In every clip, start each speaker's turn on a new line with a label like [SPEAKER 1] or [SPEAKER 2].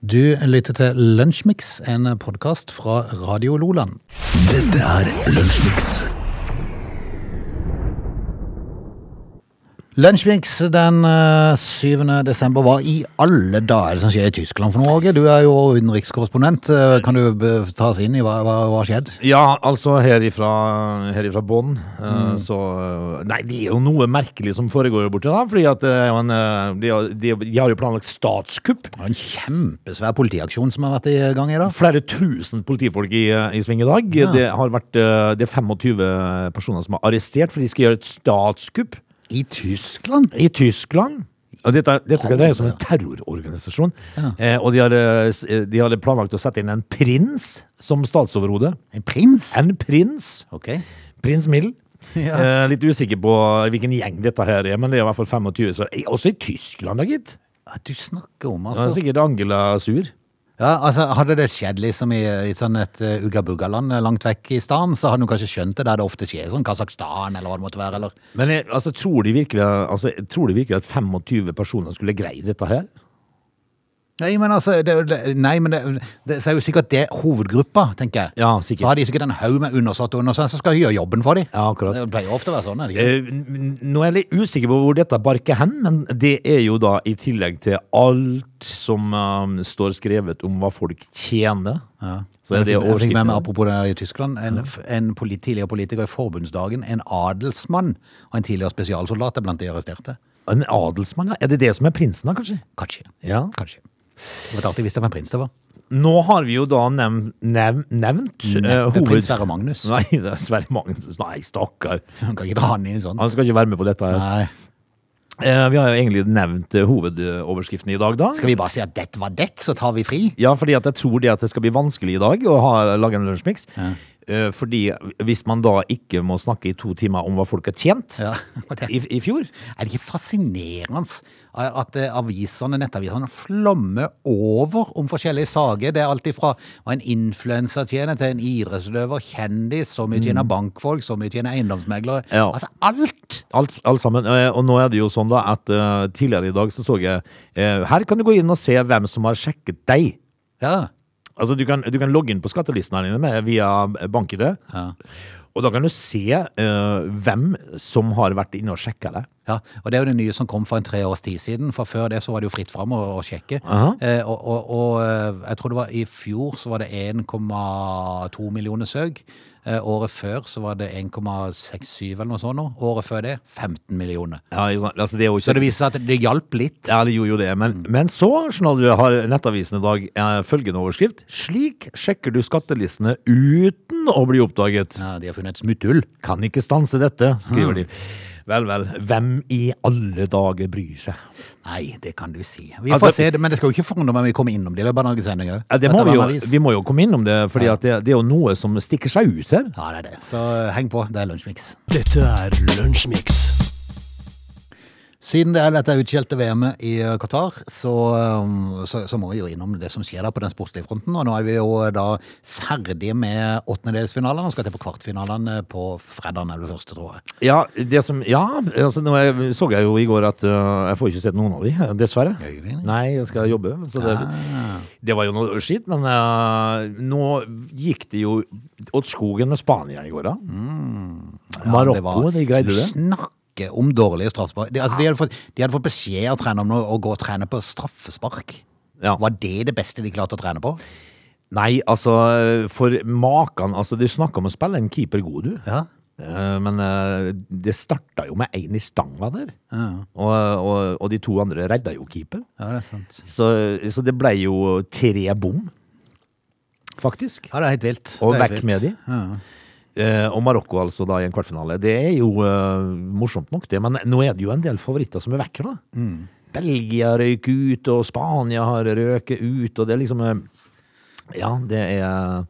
[SPEAKER 1] Du lytter til Lunsjmix, en podkast fra Radio Loland.
[SPEAKER 2] Dette er Lunsjmix.
[SPEAKER 1] Lunsjmix den eh, 7. desember. Hva i alle dager er det som skjer i Tyskland for noe, Åge? Du er jo utenrikskorrespondent. Eh, Kan du be- ta oss inn i hva som har skjedd?
[SPEAKER 3] Ja, altså her ifra, her ifra Bonn, eh, så eh, Nei, det er jo noe merkelig som foregår borte, da. Fordi at eh, man, eh, de, har- de, de har jo planlagt statskupp.
[SPEAKER 1] Det er En kjempesvær politiaksjon som har vært i gang i dag.
[SPEAKER 3] Flere tusen politifolk i, eh, i sving i dag. Det har vært eh, Det er 25 personer som er arrestert, for de skal gjøre et statskupp
[SPEAKER 1] I Tyskland?
[SPEAKER 3] i Tyskland. Og dette, dette skal dreie seg om en terrororganisasjon. Eh, og de har, eh, s- eh, de har planlagt å sette inn en prins som statsoverhode.
[SPEAKER 1] En prins?
[SPEAKER 3] En prins!
[SPEAKER 1] Ok.
[SPEAKER 3] Prins Mild.
[SPEAKER 1] Ja.
[SPEAKER 3] Eh, litt usikker på hvilken gjeng dette her er, men det er i hvert fall 25. Så, eh, også i Tyskland, da, gitt.
[SPEAKER 1] Ja, Du snakker om,
[SPEAKER 3] Da er
[SPEAKER 1] altså.
[SPEAKER 3] sikkert Angela sur.
[SPEAKER 1] Ja, altså hadde det skjedd liksom i, i sånn et eh, ugga-bugga-land eh, langt vekk i stedet, så hadde du kanskje skjønt det der det ofte skjer, sånn Kasakhstan eller hva det måtte være. eller...
[SPEAKER 3] Men eh, altså, tror, de virkelig, altså, tror de virkelig at 25 personer skulle greie dette her?
[SPEAKER 1] Nei, men altså, det, det, nei, men det, det så er jo sikkert det hovedgruppa, tenker jeg.
[SPEAKER 3] Ja,
[SPEAKER 1] Så
[SPEAKER 3] sikkert.
[SPEAKER 1] har de sikkert en haug med undersåtte og undersåtte som skal gjøre jobben for dem.
[SPEAKER 3] Ja, akkurat.
[SPEAKER 1] Det pleier jo ofte å være sånn. er det ikke?
[SPEAKER 3] Eh, n- nå er jeg litt usikker på hvor dette barker hen, men det er jo da i tillegg til alt som eh, står skrevet om hva folk tjener.
[SPEAKER 1] Ja.
[SPEAKER 3] Så er det
[SPEAKER 1] jeg, fikk, jeg fikk med meg,
[SPEAKER 3] overskriften.
[SPEAKER 1] apropos det i Tyskland, en, f- en poli, tidligere politiker i forbundsdagen, en adelsmann og en tidligere spesialsoldat er blant de arresterte.
[SPEAKER 3] En adelsmann, ja. Er det det som er prinsen, da, kanskje?
[SPEAKER 1] Kanskje.
[SPEAKER 3] Ja.
[SPEAKER 1] Kanskje. Det var et artig hvis det var en prins det var.
[SPEAKER 3] Nå har vi jo da nevnt, nev, nevnt eh,
[SPEAKER 1] Neppe prins Sverre Magnus.
[SPEAKER 3] Nei, det er Sverre Magnus. Nei, stakkar.
[SPEAKER 1] Man kan ikke dra han inn i sånn.
[SPEAKER 3] Han skal ikke være med på dette. her.
[SPEAKER 1] Nei.
[SPEAKER 3] Eh, vi har jo egentlig nevnt eh, hovedoverskriften i dag, da.
[SPEAKER 1] Skal vi bare si at dette var det, så tar vi fri?
[SPEAKER 3] Ja, fordi at jeg tror det at det skal bli vanskelig i dag å ha, lage en lunsjmix. Eh, fordi hvis man da ikke må snakke i to timer om hva folk har tjent
[SPEAKER 1] Ja, og det-
[SPEAKER 3] i, i fjor
[SPEAKER 1] Er det ikke fascinerende at eh, avisene, nettavisene flommer over om forskjellige saker? Det er alltid fra hva en influenser tjener til en idrettsutøver, kjendis, så mye tjener bankfolk, så mye tjener eiendomsmeglere.
[SPEAKER 3] Ja.
[SPEAKER 1] Altså alt!
[SPEAKER 3] Alt, alt sammen. Eh, Og nå er det jo sånn da at eh, tidligere i dag så så jeg eh, Her kan du gå inn og se hvem som har sjekket deg.
[SPEAKER 1] Ja.
[SPEAKER 3] Altså, du kan, du kan logge inn på skattelisten her inne med, via BankID,
[SPEAKER 1] Ja.
[SPEAKER 3] og da kan du se eh, hvem som har vært inne og sjekka deg.
[SPEAKER 1] Ja, og Det er jo det nye som kom for en tre års tid siden. For Før det så var det jo fritt fram å, å sjekke.
[SPEAKER 3] Aha.
[SPEAKER 1] Eh, og, og, og eh, jeg tror det var i fjor så var det 1,2 millioner søk. Eh, året før så var det 1,67 eller noe sånt. nå. Året før det 15 millioner.
[SPEAKER 3] Ja, ikke sant? altså, det Mm. er jo
[SPEAKER 1] Så
[SPEAKER 3] ikke...
[SPEAKER 1] det viser seg at det hjalp litt.
[SPEAKER 3] Ja, det gjorde jo det, men, men så skjønner du, har Nettavisen i dag eh, følgende overskrift. Slik sjekker du skattelistene uten å bli oppdaget.
[SPEAKER 1] Ja, de har funnet et smutthull.
[SPEAKER 3] Kan ikke stanse dette, skriver de. Vel, vel. Hvem i alle dager bryr seg?
[SPEAKER 1] Nei, det kan du si. Vi
[SPEAKER 3] Altså-
[SPEAKER 1] får se, det, men det skal jo ikke forundre meg om vi kommer innom de løpedagesendinger òg.
[SPEAKER 3] Ja, det må vi, jo, vi må jo komme innom det, for det, det er jo noe som stikker seg ut her.
[SPEAKER 1] Ja, det er det. Så heng på. Det er Lunsjmix.
[SPEAKER 2] Dette er Lunsjmix.
[SPEAKER 1] Siden det er dette utskjelte VM-et i eh, Qatar, så, um, så, så må vi jo innom det som skjer der på den sportslige fronten. Og nå er vi jo eh, da ferdige med åttendedelsfinalene og skal til på kvartfinalene på fredag er det første, tror jeg.
[SPEAKER 3] Ja, det som, ja altså, nå er- så jeg jo i går at øh, jeg får ikke sett noen av de, dessverre.
[SPEAKER 1] Gjør du det?
[SPEAKER 3] Nei, jeg skal jobbe. Så det,
[SPEAKER 1] Ah.
[SPEAKER 3] det var jo noe skitt, men øh, nå gikk det jo åt skogen med Spania i går, da. Marokko,
[SPEAKER 1] Mm. det var-
[SPEAKER 3] de greide det.
[SPEAKER 1] Snakke om dårlige straffespark. De, altså, de, hadde fått, de hadde fått beskjed av treneren om å gå og trene på straffespark.
[SPEAKER 3] Ja.
[SPEAKER 1] Var det det beste de klarte å trene på?
[SPEAKER 3] Nei, altså, for makan altså, Du snakker om å spille en keeper god, du.
[SPEAKER 1] Ja.
[SPEAKER 3] Eh, Men eh, det starta jo med én i stanga der. Og, og, og de to andre redda jo keeper.
[SPEAKER 1] Ja, det er sant.
[SPEAKER 3] Så, så det ble jo tre bom, faktisk.
[SPEAKER 1] Ja, det er helt vilt.
[SPEAKER 3] Og
[SPEAKER 1] Det er helt
[SPEAKER 3] vekk
[SPEAKER 1] vilt.
[SPEAKER 3] med de. Eh, og Marokko altså da i en kvartfinale. Det er jo eh, morsomt nok, det. Men nå er det jo en del favoritter som er vekke, da. Belgia røyk ut, og Spania har røket ut, og det er liksom eh, Ja, det er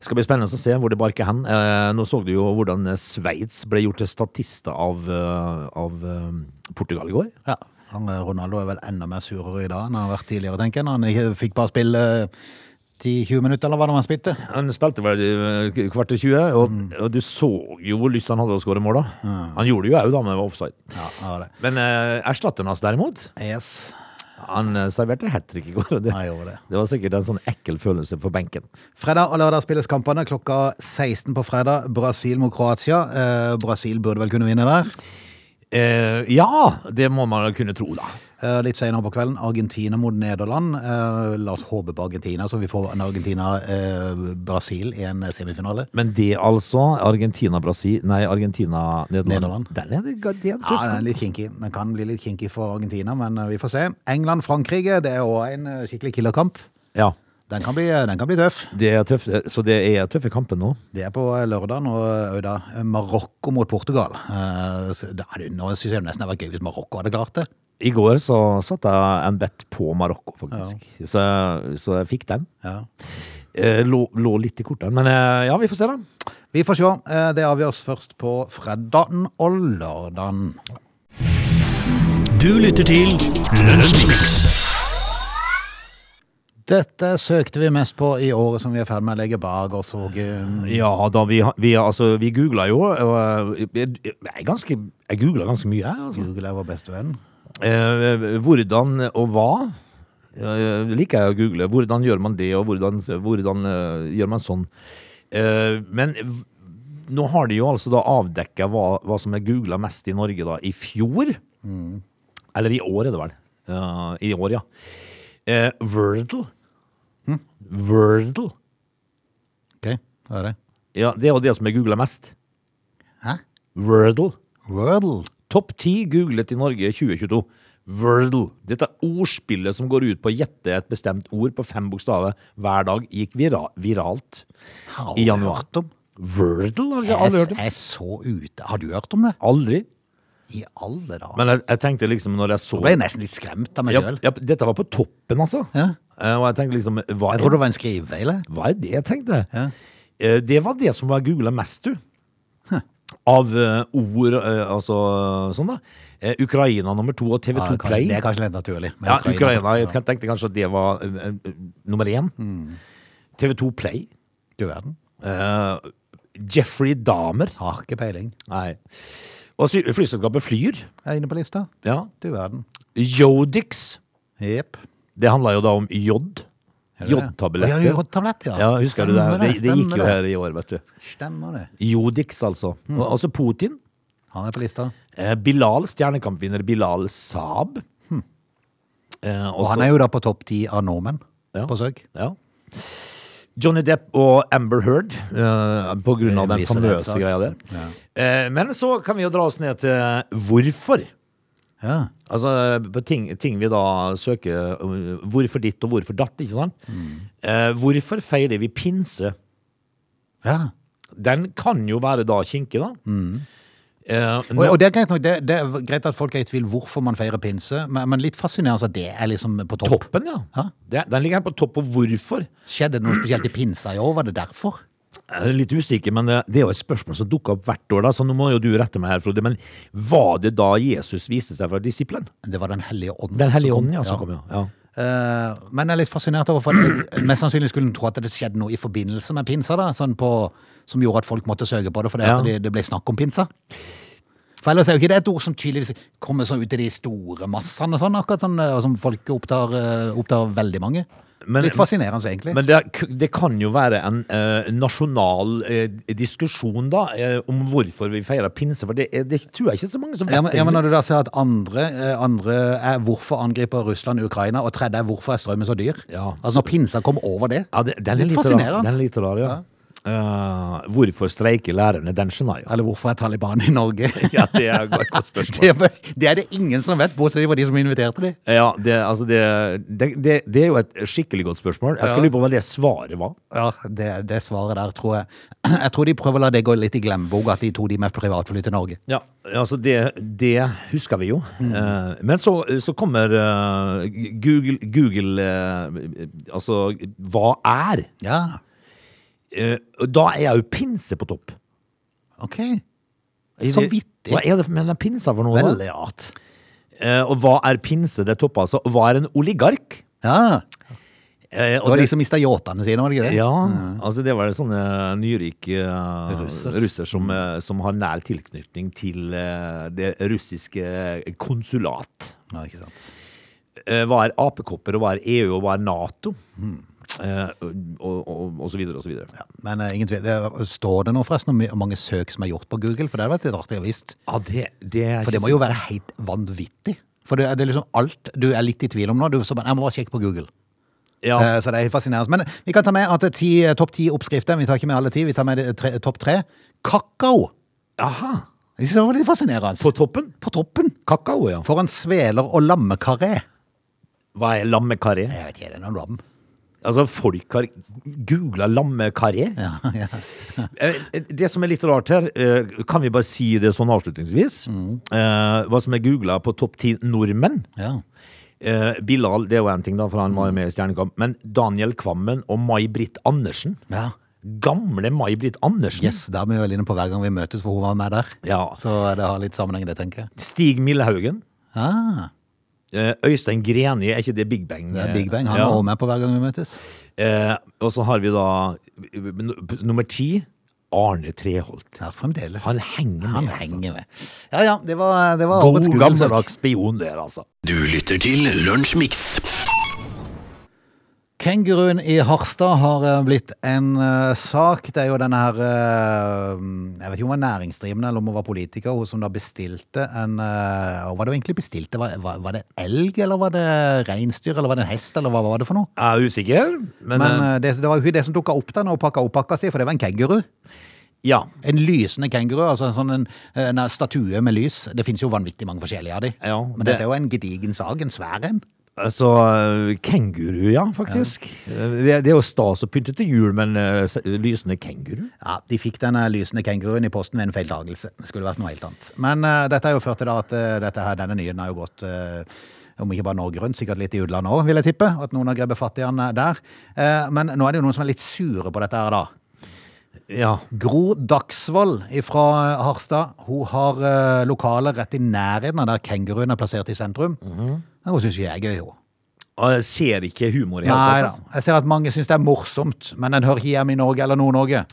[SPEAKER 3] det skal bli spennende å se hvor det barker hen. Eh, nå så du jo hvordan Sveits ble gjort til statister av, eh, av eh, Portugal i går.
[SPEAKER 1] Ja. Han, eh, Ronaldo er vel enda mer surere i dag enn han har vært tidligere, tenker jeg. når Han ikke fikk bare spille eh, 10-20 minutter, eller hva det var han spilte.
[SPEAKER 3] Han spilte vel eh, kvart til 20, og, og du så jo hvor lyst han hadde å skåre mål, da. Han gjorde det jo òg, da, men det var offside.
[SPEAKER 1] Ja, det var det.
[SPEAKER 3] Men eh, erstatteren hans derimot,
[SPEAKER 1] Yes.
[SPEAKER 3] Han eh, serverte hat trick i går. og Det,
[SPEAKER 1] Han gjorde det.
[SPEAKER 3] det var sikkert en sånn ekkel følelse for benken.
[SPEAKER 1] Fredag og lørdag spilles kampene klokka 16 på fredag. Brasil mot Kroatia. Eh, Brasil burde vel kunne vinne der.
[SPEAKER 3] Eh, ja, det må man kunne tro, da.
[SPEAKER 1] Eh, litt senere på kvelden Argentina mot Nederland. Eh, la oss håpe på Argentina, så vi får en Argentina-Brasil i en eh, semifinale.
[SPEAKER 3] Men det altså, Argentina-Brasil Nei, Argentina-Nederland.
[SPEAKER 1] Nederland.
[SPEAKER 3] Den er det, det er
[SPEAKER 1] Ja, den
[SPEAKER 3] tøft.
[SPEAKER 1] er litt kinky. Den kan bli litt kinky for Argentina, men eh, vi får se. England-Frankrike, det er òg en eh, skikkelig killerkamp.
[SPEAKER 3] Ja,
[SPEAKER 1] Den kan, bli, den kan bli tøff.
[SPEAKER 3] det er tøft. eh, Så det er tøffe kamper nå.
[SPEAKER 1] Det er på lørdag og òg da eh, Marokko mot Portugal. Eh, så da er det- Nå syns jeg nesten det hadde vært gøy hvis Marokko hadde klart det.
[SPEAKER 3] I går så satte jeg en bet på Marokko, faktisk. Så, så jeg fikk den.
[SPEAKER 1] Ja.
[SPEAKER 3] Eh, Lå, lå litt i kortene. Men eh, ja, vi får se, da.
[SPEAKER 1] Vi får se. Eh, Det avgjøres først på fredagen og lørdagen.
[SPEAKER 2] Du lytter til Lunsjmix.
[SPEAKER 1] Dette søkte vi mest på i året som vi er ferdig med å legge bak oss. Og, eh,
[SPEAKER 3] Ja da, vi, har- vi, har- altså, vi googla jo. og, eh, Jeg, jeg, ganske- jeg googla ganske mye, jeg. Altså.
[SPEAKER 1] Google er vår beste venn.
[SPEAKER 3] Eh, hvordan og hva eh, liker jeg å google. Hvordan gjør man det, og hvordan, hvordan eh, gjør man sånn? Eh, men v- nå har de jo altså da avdekka hva, hva som er googla mest i Norge da, i fjor. Eller i år, er det vel. Eh, I år, ja. Eh, Wordle. Wordle.
[SPEAKER 1] Ok, hva er det?
[SPEAKER 3] Ja, det er jo det som er googla mest.
[SPEAKER 1] Hæ?
[SPEAKER 3] Wordle.
[SPEAKER 1] Wordle?
[SPEAKER 3] Topp ti googlet i Norge i 2022. Wordle. Dette ordspillet som går ut på å gjette et bestemt ord på fem bokstaver hver dag, gikk vira viralt
[SPEAKER 1] Har
[SPEAKER 3] i
[SPEAKER 1] du
[SPEAKER 3] januar.
[SPEAKER 1] hørt om?
[SPEAKER 3] Wordle har ikke alle
[SPEAKER 1] Jeg
[SPEAKER 3] hørt om.
[SPEAKER 1] er så ute. Har du hørt om det?
[SPEAKER 3] Aldri.
[SPEAKER 1] I alle dager.
[SPEAKER 3] Men jeg, jeg tenkte liksom når jeg
[SPEAKER 1] Jeg
[SPEAKER 3] så
[SPEAKER 1] ble nesten litt skremt av meg
[SPEAKER 3] ja,
[SPEAKER 1] sjøl.
[SPEAKER 3] ja, Dette var på toppen, altså.
[SPEAKER 1] Ja.
[SPEAKER 3] Eh, Og jeg tenkte liksom hva
[SPEAKER 1] Jeg
[SPEAKER 3] er,
[SPEAKER 1] trodde det var en skrivefeil. jeg.
[SPEAKER 3] hva er det jeg tenkte?
[SPEAKER 1] Ja.
[SPEAKER 3] Eh, Det var det som var googla mest, du. Av eh, ord, eh, altså sånn, da. Eh, Ukraina nummer to og TV2
[SPEAKER 1] Ja, kanskje,
[SPEAKER 3] Play.
[SPEAKER 1] det er kanskje litt naturlig. men
[SPEAKER 3] Ja, Ukraina. Jeg tenkte kanskje at det var eh, eh, nummer én.
[SPEAKER 1] Mm.
[SPEAKER 3] TV 2 Play.
[SPEAKER 1] Du verden.
[SPEAKER 3] eh, Jeffrey Dahmer.
[SPEAKER 1] Har ikke peiling.
[SPEAKER 3] Nei. Og sy- flyselskapet Flyr.
[SPEAKER 1] Jeg er inne på lista.
[SPEAKER 3] Ja.
[SPEAKER 1] Du verden.
[SPEAKER 3] Jodix.
[SPEAKER 1] Jepp.
[SPEAKER 3] Det handla jo da om jod.
[SPEAKER 1] Er det det? Å,
[SPEAKER 3] Jodtabletter.
[SPEAKER 1] Ja, jodtablett, ja.
[SPEAKER 3] Ja, husker du det?
[SPEAKER 1] Stemmer
[SPEAKER 3] Det, det gikk
[SPEAKER 1] stemmer det.
[SPEAKER 3] jo
[SPEAKER 1] Mm.
[SPEAKER 3] her i år, vet du.
[SPEAKER 1] Stemmer det.
[SPEAKER 3] Jodix, altså. Og, altså Putin.
[SPEAKER 1] Han er på lista.
[SPEAKER 3] Eh, Bilal, stjernekampvinner Bilal Saab. Eh,
[SPEAKER 1] Hm. Og han er jo da på topp ti av nordmenn
[SPEAKER 3] Ja.
[SPEAKER 1] på søk.
[SPEAKER 3] Ja. Johnny Depp og Amber Heard, eh, på grunn av
[SPEAKER 1] Det
[SPEAKER 3] den
[SPEAKER 1] blir så
[SPEAKER 3] famøse
[SPEAKER 1] rettssak.
[SPEAKER 3] greia der. Eh, men så kan vi jo dra oss ned til hvorfor.
[SPEAKER 1] Ja.
[SPEAKER 3] Altså eh, på ting, ting vi da søker eh, Hvorfor ditt og hvorfor datt, ikke sant?
[SPEAKER 1] Mm.
[SPEAKER 3] Eh, hvorfor feirer vi pinse?
[SPEAKER 1] ja.
[SPEAKER 3] Den kan jo være da kinkig, da.
[SPEAKER 1] Mm.
[SPEAKER 3] Eh,
[SPEAKER 1] Og, og det er greit nok, det, det er greit at folk er i tvil hvorfor man feirer pinse, men, men litt fascinerende at det er liksom på topp.
[SPEAKER 3] toppen, ja.
[SPEAKER 1] Hæ?
[SPEAKER 3] Det, den ligger her på topp, og hvorfor?
[SPEAKER 1] Skjedde det noe spesielt i pinsa i år? Var det derfor?
[SPEAKER 3] Jeg er litt usikker, men det det er jo et spørsmål som dukker opp hvert år, da, så nå må jo du rette meg her, Frode. Men var det da Jesus viste seg fra disiplene?
[SPEAKER 1] Det var Den hellige ånd.
[SPEAKER 3] Den hellige
[SPEAKER 1] som kom.
[SPEAKER 3] ånden, ja, som kom, ja. ja.
[SPEAKER 1] Eh, men jeg er litt fascinert over for at Mest sannsynlig skulle en tro at det skjedde noe i forbindelse med pinsa, da, sånn på, som gjorde at folk måtte søke på det fordi
[SPEAKER 3] Ja.
[SPEAKER 1] at det, det ble snakk om pinsa. For ellers er jo ikke det et ord som tydeligvis kommer sånn ut i de store massene, sånn, akkurat sånn, eh, og som folk opptar, eh, opptar veldig mange.
[SPEAKER 3] Men-
[SPEAKER 1] litt fascinerende, egentlig.
[SPEAKER 3] Men det, er k- det kan jo være en eh, nasjonal eh, diskusjon, da, eh, om hvorfor vi feirer pinse, for det, er- det tror jeg ikke så mange som vet.
[SPEAKER 1] ja, men, ja,
[SPEAKER 3] det.
[SPEAKER 1] men Når du da ser at andre, eh, andre er hvorfor angriper Russland Ukraina, og tredje er hvorfor er strømmen så dyr
[SPEAKER 3] Ja.
[SPEAKER 1] Altså Når pinsa kom over det,
[SPEAKER 3] Ja, det, den er
[SPEAKER 1] litt
[SPEAKER 3] litt rar,
[SPEAKER 1] fascinerende.
[SPEAKER 3] den er litt rar, ja. Eh, hvorfor streiker lærerne? Den skjønner jeg jo.
[SPEAKER 1] Eller hvorfor er Taliban i Norge?
[SPEAKER 3] Ja, det er et godt spørsmål.
[SPEAKER 1] Det, det er det ingen som vet, bortsett fra de som inviterte de.
[SPEAKER 3] Ja, det, altså det, det, det, det er jo et skikkelig godt spørsmål. Jeg skal
[SPEAKER 1] Ja.
[SPEAKER 3] lure på hva det svaret var.
[SPEAKER 1] Ja, det, det svaret der tror jeg Jeg tror de prøver å la det gå litt i glemmeboka at de to de med privatfly til Norge.
[SPEAKER 3] Ja, altså det, det husker vi jo.
[SPEAKER 1] Mm.
[SPEAKER 3] Eh, men så, så kommer eh, Google, Google eh, Altså, hva er?
[SPEAKER 1] Ja,
[SPEAKER 3] Eh, og da er jo pinse på topp.
[SPEAKER 1] ok.
[SPEAKER 3] Ikke-
[SPEAKER 1] vittig.
[SPEAKER 3] Hva er det med den pinsa for noe? da?
[SPEAKER 1] Veldig rart.
[SPEAKER 3] Eh, og hva er pinse? Det topper altså. Og hva er en oligark?
[SPEAKER 1] Ja,
[SPEAKER 3] Eh,
[SPEAKER 1] Det
[SPEAKER 3] og
[SPEAKER 1] var
[SPEAKER 3] det-
[SPEAKER 1] de som mista yachtene sine, var det ikke det?
[SPEAKER 3] Ja, altså det var det sånne nyrike eh,
[SPEAKER 1] Russer. Mm.
[SPEAKER 3] russer som, eh, som har nær tilknytning til eh, det russiske konsulat.
[SPEAKER 1] Ja, ikke sant.
[SPEAKER 3] Eh, Eh, Hva er apekopper, og hva er EU, og hva er Nato? Eh, og, og, og så videre og så videre. Ja,
[SPEAKER 1] Men eh, ingen tvil. Det, står det nå forresten om hvor mange søk som er gjort på Google? For det hadde vært litt artig å visst.
[SPEAKER 3] det, det er
[SPEAKER 1] For det
[SPEAKER 3] ikke
[SPEAKER 1] må jo være helt vanvittig. For det er det er liksom alt du er litt i tvil om nå. Du, så bare, jeg må bare sjekke på Google.
[SPEAKER 3] så- ja.
[SPEAKER 1] Eh, Så det er fascinerende. Men vi kan ta med at det er ti, eh, topp ti oppskrifter. Vi tar ikke med alle ti, vi tar med de tre, topp tre. Kakao.
[SPEAKER 3] Aha!
[SPEAKER 1] Jeg synes det var litt fascinerende.
[SPEAKER 3] På toppen?
[SPEAKER 1] på toppen.
[SPEAKER 3] Kakao, ja.
[SPEAKER 1] Foran sveler og lammekaré.
[SPEAKER 3] Hva er lammekaré?
[SPEAKER 1] Jeg vet ikke, det er noen lam.
[SPEAKER 3] Altså, folk har googla lammekaré.
[SPEAKER 1] Ja, ja.
[SPEAKER 3] Eh, Det som er litt rart her, eh, kan vi bare si det sånn avslutningsvis?
[SPEAKER 1] Mm.
[SPEAKER 3] Eh, Hva som er googla på topp ti nordmenn?
[SPEAKER 1] ja.
[SPEAKER 3] Eh, Bilal, det er jo én ting, da, for han var jo med i Stjernekamp. Men Daniel Kvammen og May-Britt Andersen.
[SPEAKER 1] ja.
[SPEAKER 3] Gamle May-Britt Andersen.
[SPEAKER 1] Yes, der er vi vel inne på hver gang vi møtes, for hun var med der.
[SPEAKER 3] Ja.
[SPEAKER 1] Så det har litt sammenheng, det, tenker jeg.
[SPEAKER 3] Stig Millehaugen.
[SPEAKER 1] Ah,
[SPEAKER 3] Eh, Øystein Greni, er ikke det Big Bang?
[SPEAKER 1] det er Big Bang. Han
[SPEAKER 3] Ja.
[SPEAKER 1] var også med på hver gang vi møtes.
[SPEAKER 3] Eh, og så har vi da eh, n- nummer ti, Arne Treholt.
[SPEAKER 1] Ja, fremdeles.
[SPEAKER 3] Han henger med.
[SPEAKER 1] Han
[SPEAKER 3] altså.
[SPEAKER 1] henger med. Ja ja, det var, det var årets
[SPEAKER 3] God
[SPEAKER 1] Google-søk.
[SPEAKER 3] gammeldags spion der, altså.
[SPEAKER 2] Du lytter til Lunsjmix.
[SPEAKER 1] Kenguruen i Harstad har eh, blitt en eh, sak. Det er jo denne her eh, Jeg vet ikke om hun var næringsdrivende eller om hun var politiker, hun som da bestilte en eh, Hva var det hun egentlig bestilte? Var, var, var det elg, eller var det reinsdyr, eller var det en hest, eller hva var det for noe?
[SPEAKER 3] Jeg er usikker, men,
[SPEAKER 1] Men
[SPEAKER 3] eh,
[SPEAKER 1] eh, det, det var jo ikke det som dukka opp da når hun pakka opp pakka si, for det var en kenguru.
[SPEAKER 3] ja.
[SPEAKER 1] En lysende kenguru, altså en sånn en, en statue med lys. Det fins jo vanvittig mange forskjellige av de.
[SPEAKER 3] Ja,
[SPEAKER 1] Men
[SPEAKER 3] det-
[SPEAKER 1] dette er jo en gedigen sag, en svær en.
[SPEAKER 3] Altså, eh, kenguru, ja, faktisk. Eh, Det, det er jo stas å pynte til jul, men eh, s- lysende kenguru?
[SPEAKER 1] Ja, De fikk denne lysende kenguruen i posten ved en feiltagelse. Det skulle vært noe helt annet. Men eh, dette har jo ført til da at eh, dette her, denne nyheten har jo gått eh, om ikke bare Norge rundt, sikkert litt i utlandet òg, vil jeg tippe. At noen har grepet fatt i han eh, der. Eh, men nå er det jo noen som er litt sure på dette her, da.
[SPEAKER 3] Ja.
[SPEAKER 1] Gro Dagsvold fra Harstad hun har eh, lokale rett i nærheten av der kenguruen er plassert i sentrum. Men Hun syns ikke jeg er gøy, hun.
[SPEAKER 3] Og jeg ser ikke humor i det
[SPEAKER 1] Nei da.
[SPEAKER 3] altså.
[SPEAKER 1] Jeg ser at mange syns det er morsomt, men den hører ikke hjemme i Norge eller Nord-Norge.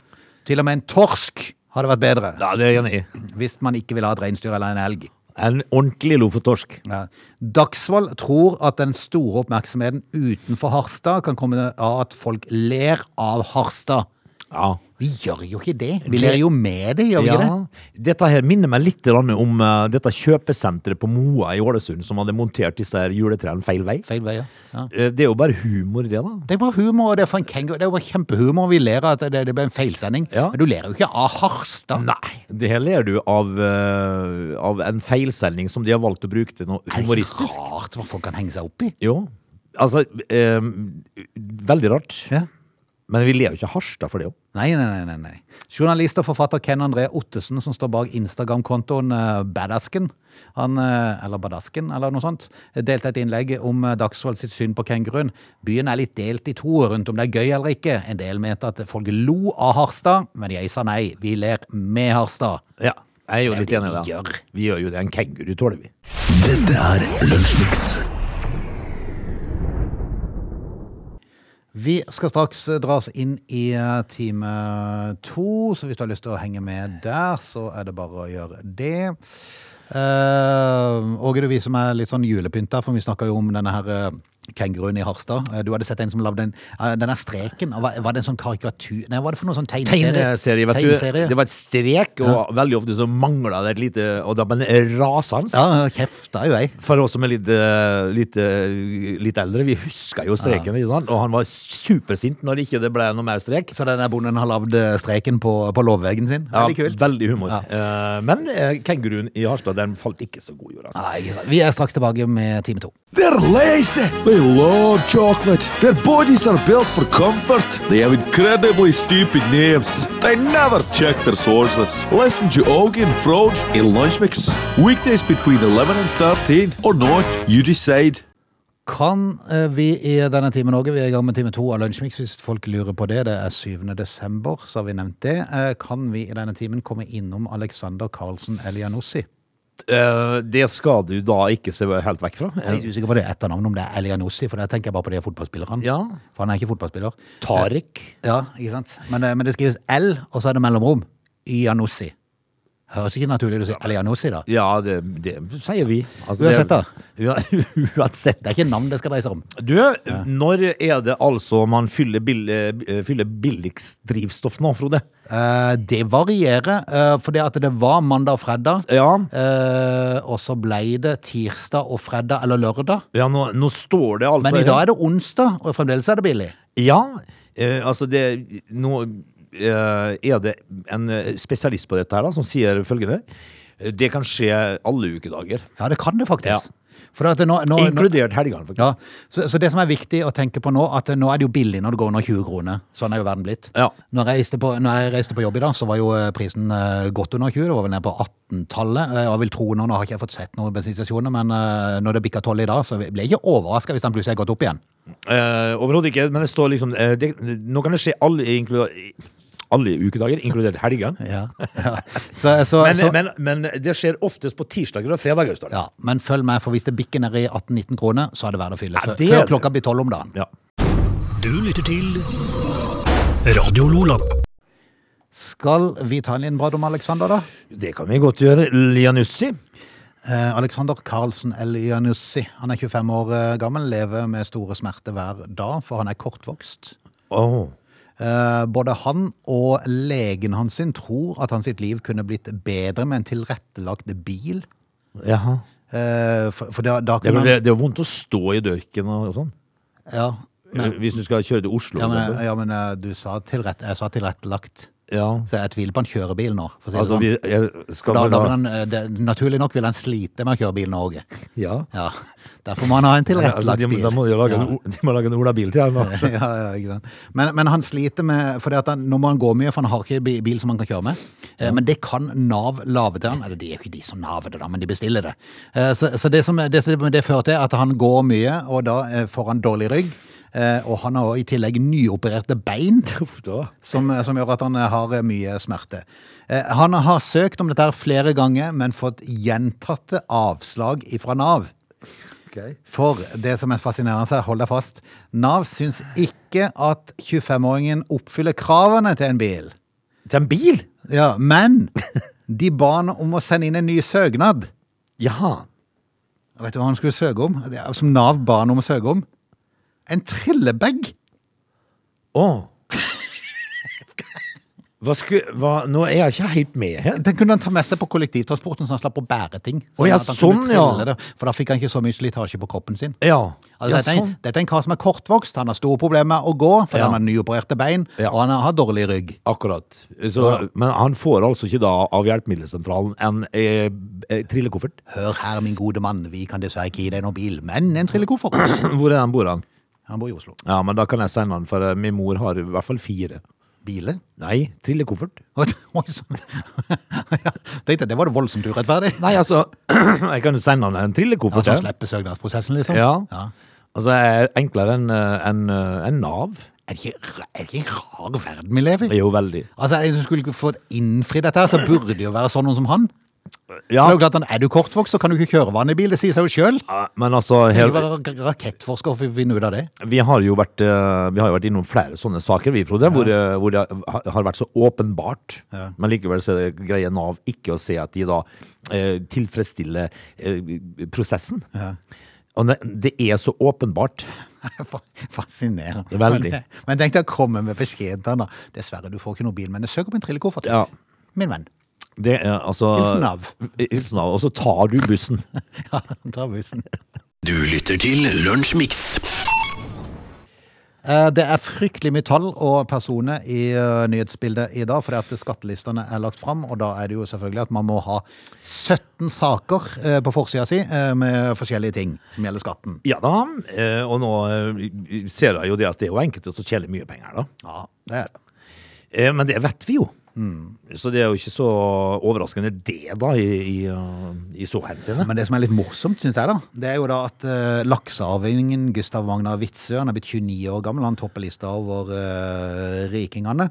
[SPEAKER 1] Til og med en torsk hadde vært bedre.
[SPEAKER 3] Ja, det er jeg enig i.
[SPEAKER 1] hvis man ikke vil ha et reinsdyr eller en elg.
[SPEAKER 3] En ordentlig lofottorsk.
[SPEAKER 1] Ja. Dagsvold tror at den store oppmerksomheten utenfor Harstad kan komme av at folk ler av Harstad.
[SPEAKER 3] Ja.
[SPEAKER 1] Vi gjør jo ikke det. Vi ler jo med det, gjør vi
[SPEAKER 3] ja.
[SPEAKER 1] ikke det?
[SPEAKER 3] Dette her minner meg litt grann om eh, dette kjøpesenteret på Moa i Ålesund, som hadde montert disse her juletrærne feil vei.
[SPEAKER 1] Feil vei, ja. ja.
[SPEAKER 3] Eh, Det er jo bare humor, det, da.
[SPEAKER 1] Det er bare humor, og det er for en kenguru. Det er jo bare kjempehumor. Vi ler av at det, det ble en feilsending.
[SPEAKER 3] Ja.
[SPEAKER 1] Men du ler jo ikke av Harstad.
[SPEAKER 3] Nei, det her ler du av, eh, av en feilsending som de har valgt å bruke til noe
[SPEAKER 1] Det
[SPEAKER 3] humoristisk.
[SPEAKER 1] er rart hva folk kan henge seg opp i.
[SPEAKER 3] Jo. Altså, eh, veldig rart.
[SPEAKER 1] Ja.
[SPEAKER 3] Men vi ler jo ikke av Harstad for det òg.
[SPEAKER 1] Nei, nei, nei, nei, nei. Journalist og forfatter Ken André Ottesen, som står bak Instagram-kontoen eh, Badasken, han, eh, eller Badasken, eller noe sånt, delte et innlegg om eh, Dagsvold sitt syn på kenguruen. Byen er litt delt i to rundt om det er gøy eller ikke. En del mente at folk lo av Harstad, men jeg sa nei, vi ler med Harstad.
[SPEAKER 3] Ja, jeg er jo
[SPEAKER 1] Det er
[SPEAKER 3] litt
[SPEAKER 1] det
[SPEAKER 3] enig i det.
[SPEAKER 1] vi gjør.
[SPEAKER 3] Vi gjør jo det. En kenguru tåler vi.
[SPEAKER 2] Dette er Lunsjmix.
[SPEAKER 1] Vi skal straks eh, dra oss inn i eh, time to, så hvis du har lyst til å henge med der, så er det bare å gjøre det. Uh, Åge, det er vi som er litt sånn julepynta, for vi snakker jo om denne her eh, kenguruen i Harstad. Eh, Du hadde sett en som lagde den, eh, denne streken. og Var, var det en sånn karikatur Nei, var det for noe sånn tegneserie?
[SPEAKER 3] Tegneserie, vet du.
[SPEAKER 1] Tegneserie.
[SPEAKER 3] Det var et strek, og veldig ofte så mangla det et lite Og da men rasans.
[SPEAKER 1] Ja, kjefta jo jeg.
[SPEAKER 3] For oss som er litt, eh, litt, eh, litt eldre, vi husker jo streken, ikke sant? og han var supersint når ikke det ble noe mer strek.
[SPEAKER 1] Så denne bonden har lagd eh, streken på, på låvveggen sin.
[SPEAKER 3] Ja,
[SPEAKER 1] Veldig kult.
[SPEAKER 3] veldig humor. Eh, men eh, kenguruen i Harstad den falt ikke så god jord. Altså.
[SPEAKER 1] Nei, ikke sant. vi er straks tilbake med time to.
[SPEAKER 4] They're lazy. They love chocolate. Their bodies are built for comfort. They have incredibly stupid names. They never check their sources. Listen to Augie and Frode in Lunch Mix. Weekdays between 11 and 13 or not, you decide.
[SPEAKER 1] Kan eh, vi i denne timen òg, vi er i gang med time to av Lunsjmix, hvis folk lurer på det. Det er 7. desember, så har vi nevnt det. Eh, Kan vi i denne timen komme innom Alexander Karlsen Elianossi?
[SPEAKER 3] Eh, det skal du da ikke se helt vekk fra.
[SPEAKER 1] Jeg er litt usikker på det etternavnet, om det er Elianossi, for der tenker jeg bare på de fotballspillerne.
[SPEAKER 3] Ja.
[SPEAKER 1] For han er ikke fotballspiller.
[SPEAKER 3] Tarek. Eh,
[SPEAKER 1] eh, Ja, ikke sant? Men, det- men det skrives L, og så er det mellomrom. Ianossi. Høres ikke naturlig ut å si Alianossi, da.
[SPEAKER 3] Ja, det, det sier vi. Altså,
[SPEAKER 1] Uansett, da.
[SPEAKER 3] da. Uansett.
[SPEAKER 1] Det er ikke navn det skal dreie seg om.
[SPEAKER 3] Du, eh, når er det altså man fyller, bill, eh, fyller billigst drivstoff nå, Frode?
[SPEAKER 1] Eh, det varierer, eh, for det at det var mandag og fredag,
[SPEAKER 3] Ja,
[SPEAKER 1] eh, og så ble det tirsdag og fredag eller lørdag.
[SPEAKER 3] ja nå, nå står det altså
[SPEAKER 1] Men i dag er det onsdag, og fremdeles er det billig.
[SPEAKER 3] Ja, eh, altså det Nå eh, er det en eh, spesialist på dette her da, som sier følgende. Eh, Det kan skje alle ukedager,
[SPEAKER 1] Ja, det kan det faktisk.
[SPEAKER 3] Ja.
[SPEAKER 1] For at det nå, nå, nå,
[SPEAKER 3] inkludert helgene, faktisk.
[SPEAKER 1] ja, så, så det som er viktig å tenke på nå, at nå er det jo billig når det går under 20 kroner. Sånn er jo verden blitt.
[SPEAKER 3] Ja.
[SPEAKER 1] Når jeg, reiste på, når jeg reiste på jobb i dag, så var jo eh, prisen eh, godt under 20. Det var vel ned på 18-tallet. Eh, Jeg vil tro nå, nå har ikke jeg fått sett noen bensinstasjoner, men eh, når det bikka 12 i dag, så ble jeg ikke overraska hvis den plutselig har gått opp igjen.
[SPEAKER 3] Eh, Overhodet ikke, men det står liksom eh, det, Nå kan det skje alle, inklu- alle ukedager, inkludert helgene.
[SPEAKER 1] Så, så,
[SPEAKER 3] Men,
[SPEAKER 1] så,
[SPEAKER 3] men, men det skjer oftest på tirsdager og fredager. står det.
[SPEAKER 1] ja, men følg med, for hvis det bikker ned i 18-19 kroner, så er det verdt å fylle.
[SPEAKER 3] Ja,
[SPEAKER 1] Før,
[SPEAKER 3] det er
[SPEAKER 1] før
[SPEAKER 3] det.
[SPEAKER 1] klokka blir 12 om dagen.
[SPEAKER 3] Ja.
[SPEAKER 2] Du lytter til Radio Lola.
[SPEAKER 1] Skal vi ta en liten prat om Alexander, da?
[SPEAKER 3] Det kan vi godt gjøre. Lianussi.
[SPEAKER 1] Eh, Alexander Carlsen Elianussi. Han er 25 år eh, gammel, lever med store smerter hver dag, for han er kortvokst.
[SPEAKER 3] Åh.
[SPEAKER 1] Eh, Både han og legen hans sin tror at hans sitt liv kunne blitt bedre med en tilrettelagt bil.
[SPEAKER 3] Jaha.
[SPEAKER 1] Eh, For, for da, da
[SPEAKER 3] Det er,
[SPEAKER 1] kunne
[SPEAKER 3] vel-
[SPEAKER 1] han
[SPEAKER 3] det er jo vondt å stå i dørken og, og sånn.
[SPEAKER 1] ja,
[SPEAKER 3] Hvis du skal kjøre til Oslo.
[SPEAKER 1] ja,
[SPEAKER 3] og
[SPEAKER 1] men,
[SPEAKER 3] sånt.
[SPEAKER 1] ja, men eh, du sa tilrett, jeg sa tilrettelagt.
[SPEAKER 3] ja.
[SPEAKER 1] Så jeg tviler på han kjører bil nå. For å si det
[SPEAKER 3] Altså,
[SPEAKER 1] sånn.
[SPEAKER 3] vi, jeg, skal
[SPEAKER 1] da,
[SPEAKER 3] vel
[SPEAKER 1] da vil han, eh, det, naturlig nok vil han slite med å kjøre bil nå òg.
[SPEAKER 3] ja.
[SPEAKER 1] Ja. Derfor må han ha en
[SPEAKER 3] Altså,
[SPEAKER 1] tilrettelagt
[SPEAKER 3] de,
[SPEAKER 1] bil.
[SPEAKER 3] da må de, jo lage en, o- de må lage en Ola-bil til ham.
[SPEAKER 1] ja, ja, ikke sant. Men, men han sliter med Fordi at han, Nå må han gå mye, for han har ikke bi- bil som han kan kjøre med. Eh, Men det kan Nav lage til han. Eller det er jo ikke de som naver det, da, men de bestiller det. Eh, Så, så det, som, det, som det fører til, at han går mye, og da eh, får han dårlig rygg. Eh, Og han har i tillegg nyopererte bein som, som gjør at han eh, har eh, mye smerte. Eh, Han har søkt om dette her flere ganger, men fått gjentatte avslag fra Nav. For det som er fascinerende her, hold deg fast, Nav syns ikke at 25-åringen oppfyller kravene til en bil.
[SPEAKER 3] Til en bil?
[SPEAKER 1] Ja, Men de ba han om å sende inn en ny søknad.
[SPEAKER 3] Jaha.
[SPEAKER 1] Vet du hva han skulle søke om? Det er Som Nav ba han om å søke om? En trillebag!
[SPEAKER 3] Åh. Hva sku, hva, nå er jeg ikke helt med her.
[SPEAKER 1] Den kunne han ta med seg på kollektivtransporten, så han slapp å bære ting.
[SPEAKER 3] Å ja,
[SPEAKER 1] at han kunne
[SPEAKER 3] sånn, ja.
[SPEAKER 1] trille det, For da fikk han ikke så mye slitasje på kroppen sin.
[SPEAKER 3] Ja.
[SPEAKER 1] Altså,
[SPEAKER 3] ja, sånn.
[SPEAKER 1] dette, er, en- dette er en kar som er kortvokst, han har store problemer med å gå, for
[SPEAKER 3] Ja.
[SPEAKER 1] han har nyopererte bein,
[SPEAKER 3] Ja.
[SPEAKER 1] og han har dårlig rygg.
[SPEAKER 3] Akkurat. Så, Men han får altså ikke da av hjelpemiddelsentralen en eh, eh, trillekoffert.
[SPEAKER 1] Hør her, min gode mann, vi kan dessverre ikke gi deg noen bil, men en trillekoffert.
[SPEAKER 3] Hvor er den bor han?
[SPEAKER 1] Han bor i Oslo.
[SPEAKER 3] Ja, men da kan jeg sende den, for eh, min mor har i hvert fall fire.
[SPEAKER 1] Biler?
[SPEAKER 3] Nei, trillekoffert.
[SPEAKER 1] Oi sann. Ja, Tenkte jeg, det var det voldsomt urettferdig.
[SPEAKER 3] Nei, altså, jeg kan jo sende han en
[SPEAKER 1] Ja,
[SPEAKER 3] trillekoffert.
[SPEAKER 1] så
[SPEAKER 3] ja.
[SPEAKER 1] han slipper søknadsprosessen, liksom.
[SPEAKER 3] Ja. Altså, jeg er enklere enn eh, enn, eh, enn Nav.
[SPEAKER 1] Er det ikke, ra- er det ikke en rar verden vi lever i?
[SPEAKER 3] Det er jo veldig.
[SPEAKER 1] Altså, er det en som skulle fått innfri dette her, så burde det jo være sånn noen som han. Det
[SPEAKER 3] Ja,
[SPEAKER 1] er jo klart, han- Er du kortvokst, så kan du ikke kjøre vanlig bil, det sier seg jo sjøl.
[SPEAKER 3] eh, men altså,
[SPEAKER 1] Du
[SPEAKER 3] her,
[SPEAKER 1] være ra- rakettforsker for å finne ut av det.
[SPEAKER 3] vi har jo vært, eh, vi har jo vært innom flere sånne saker, vi, Frode, hvor, eh, hvor det ha- har vært så åpenbart. Men likevel så er det greie Nav ikke å se at de da eh, tilfredsstiller eh, prosessen. Og det, det er så åpenbart.
[SPEAKER 1] Fa- Fascinerende.
[SPEAKER 3] Veldig.
[SPEAKER 1] Men, eh, men tenk deg å komme med beskjeden til han, da. Dessverre, du får ikke noen bil, men søk opp en trillekoffert.
[SPEAKER 3] Ja.
[SPEAKER 1] Min venn.
[SPEAKER 3] Det er altså
[SPEAKER 1] Hilsen Nav.
[SPEAKER 3] Hilsen Nav. Og så tar du bussen.
[SPEAKER 1] Ja, ta bussen.
[SPEAKER 2] Du lytter til Lunsjmix.
[SPEAKER 1] Eh, Det er fryktelig mye tall og personer i eh, nyhetsbildet i dag, fordi at skattelistene er lagt fram, og da er det jo selvfølgelig at man må ha 17 saker eh, på forsida si eh, med forskjellige ting som gjelder skatten.
[SPEAKER 3] Ja da. eh, Og nå eh, ser jeg jo det at det er jo enkelte som tjener mye penger, da.
[SPEAKER 1] Ja, det er det.
[SPEAKER 3] Eh, Men det vet vi jo.
[SPEAKER 1] Mm.
[SPEAKER 3] Så det er jo ikke så overraskende det, da, i, i, uh, i så henseende.
[SPEAKER 1] Men det som er litt morsomt, syns jeg, da, det er jo da at uh, laksearvingen Gustav Magnar Witzøe, han er blitt 29 år gammel, han topper lista over eh, rikingene.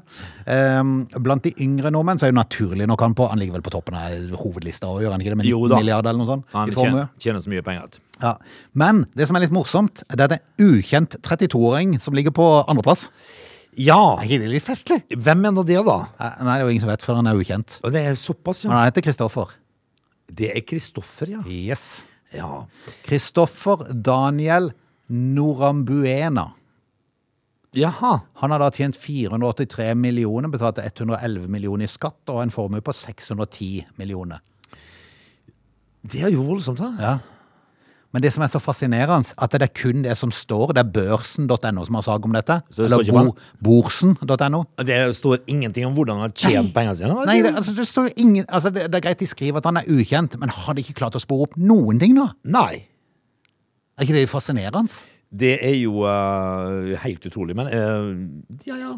[SPEAKER 1] Ehm, blant de yngre nordmenn så er jo naturlig nok han på, han ligger vel på toppen av hovedlista og gjør han ikke det, med
[SPEAKER 3] Jo
[SPEAKER 1] 19
[SPEAKER 3] da.
[SPEAKER 1] milliarder eller noe sånt?
[SPEAKER 3] Han
[SPEAKER 1] i formue?
[SPEAKER 3] tjener, tjener så mye penger at
[SPEAKER 1] Ja. Men det som er litt morsomt, det er at det er en ukjent 32-åring som ligger på andreplass.
[SPEAKER 3] Ja!
[SPEAKER 1] Er ikke det litt festlig?
[SPEAKER 3] Hvem er nå det, da?
[SPEAKER 1] Eh, Nei, det er jo ingen som vet, for han er ukjent.
[SPEAKER 3] Og Det er såpass,
[SPEAKER 1] Men
[SPEAKER 3] ja.
[SPEAKER 1] han heter Kristoffer.
[SPEAKER 3] Det er Kristoffer, ja.
[SPEAKER 1] Yes.
[SPEAKER 3] ja.
[SPEAKER 1] Kristoffer Daniel Norambuena.
[SPEAKER 3] Jaha.
[SPEAKER 1] Han har da tjent 483 millioner, betalte 111 millioner i skatt og en formue på 610 millioner.
[SPEAKER 3] Det er jo voldsomt, da.
[SPEAKER 1] Ja. Men det som er så fascinerende, at det er kun det som står, det er børsen.no som har sak om dette.
[SPEAKER 3] Så det står
[SPEAKER 1] eller
[SPEAKER 3] ikke på-
[SPEAKER 1] borsen.no.
[SPEAKER 3] Det står ingenting om hvordan han har tjent pengene sine.
[SPEAKER 1] Nei, det, altså, det står jo ingen altså, det, det er greit de skriver at han er ukjent, men har de ikke klart å spore opp noen ting, da?
[SPEAKER 3] Nei.
[SPEAKER 1] Er ikke det fascinerende?
[SPEAKER 3] Det er jo eh, helt utrolig, men eh, ja, ja.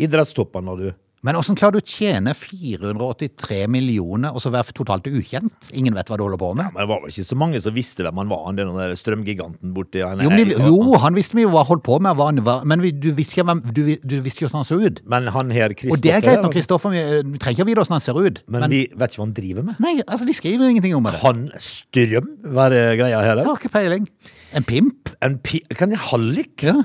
[SPEAKER 3] Idrettstoppene, du.
[SPEAKER 1] Men åssen klarer du å tjene 483 millioner og så være totalt ukjent? Ingen vet hva du holder på med?
[SPEAKER 3] Men det var vel ikke så mange som visste hvem han var, han den der strømgiganten borti han,
[SPEAKER 1] Jo, men, de-
[SPEAKER 3] Erika.
[SPEAKER 1] jo han visste mye hva han holdt på med, hva han var, men vi, du visste ikke hvem- du, vi- du visste ikke hvordan han så ut.
[SPEAKER 3] Men han her, Kristoffer
[SPEAKER 1] Og det er greit når
[SPEAKER 3] altså.
[SPEAKER 1] Kristoffer Vi eh, vi trenger ikke å vite hvordan han ser ut.
[SPEAKER 3] Men, vi vet ikke hva han driver med.
[SPEAKER 1] Nei, altså, de skriver jo ingenting om det.
[SPEAKER 3] Kan strøm være greia her?
[SPEAKER 1] Jeg
[SPEAKER 3] eller?
[SPEAKER 1] har ikke peiling. En pimp?
[SPEAKER 3] En pi... Kan jeg hallik?
[SPEAKER 1] Ja.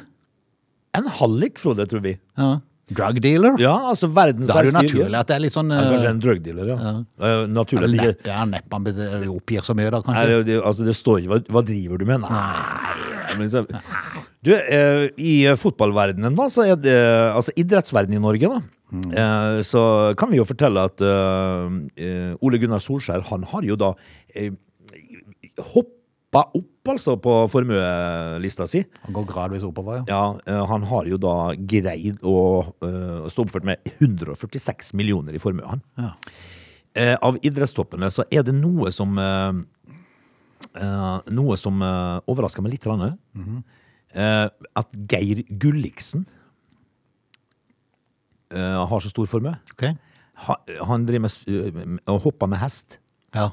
[SPEAKER 3] En hallik, Frode, tror vi.
[SPEAKER 1] ja. Drug dealer?
[SPEAKER 3] Ja, altså verdens
[SPEAKER 1] Da er det jo
[SPEAKER 3] eldste juryen.
[SPEAKER 1] naturlig at det er litt sånn
[SPEAKER 3] Ja, Kanskje
[SPEAKER 1] uh,
[SPEAKER 3] en drugdealer, ja. Eh, naturlig at ikke
[SPEAKER 1] Neppe ja, neppe han be- oppgir så mye, da,
[SPEAKER 3] Nei,
[SPEAKER 1] kanskje.
[SPEAKER 3] det, det, altså, det står ikke hva, hva driver du med? Nei men så, Du, eh, i fotballverdenen, da, så er det Altså idrettsverdenen i Norge, da. eh, Så kan vi jo fortelle at eh, eh, Ole Gunnar Solskjær, han har jo da eh, hoppa opp, altså, på formuelista si.
[SPEAKER 1] Han går gradvis oppover, ja.
[SPEAKER 3] Ja, eh, han har jo da greid å eh, stå oppført med 146 millioner i formue. han.
[SPEAKER 1] Ja.
[SPEAKER 3] Eh, av idrettstoppene så er det noe som eh, eh, Noe som eh, overrasker meg litt. grann, eh, at Geir Gulliksen eh, har så stor formue.
[SPEAKER 1] Ok.
[SPEAKER 3] Ha, han driver med s- med å hoppe med hest.
[SPEAKER 1] Ja.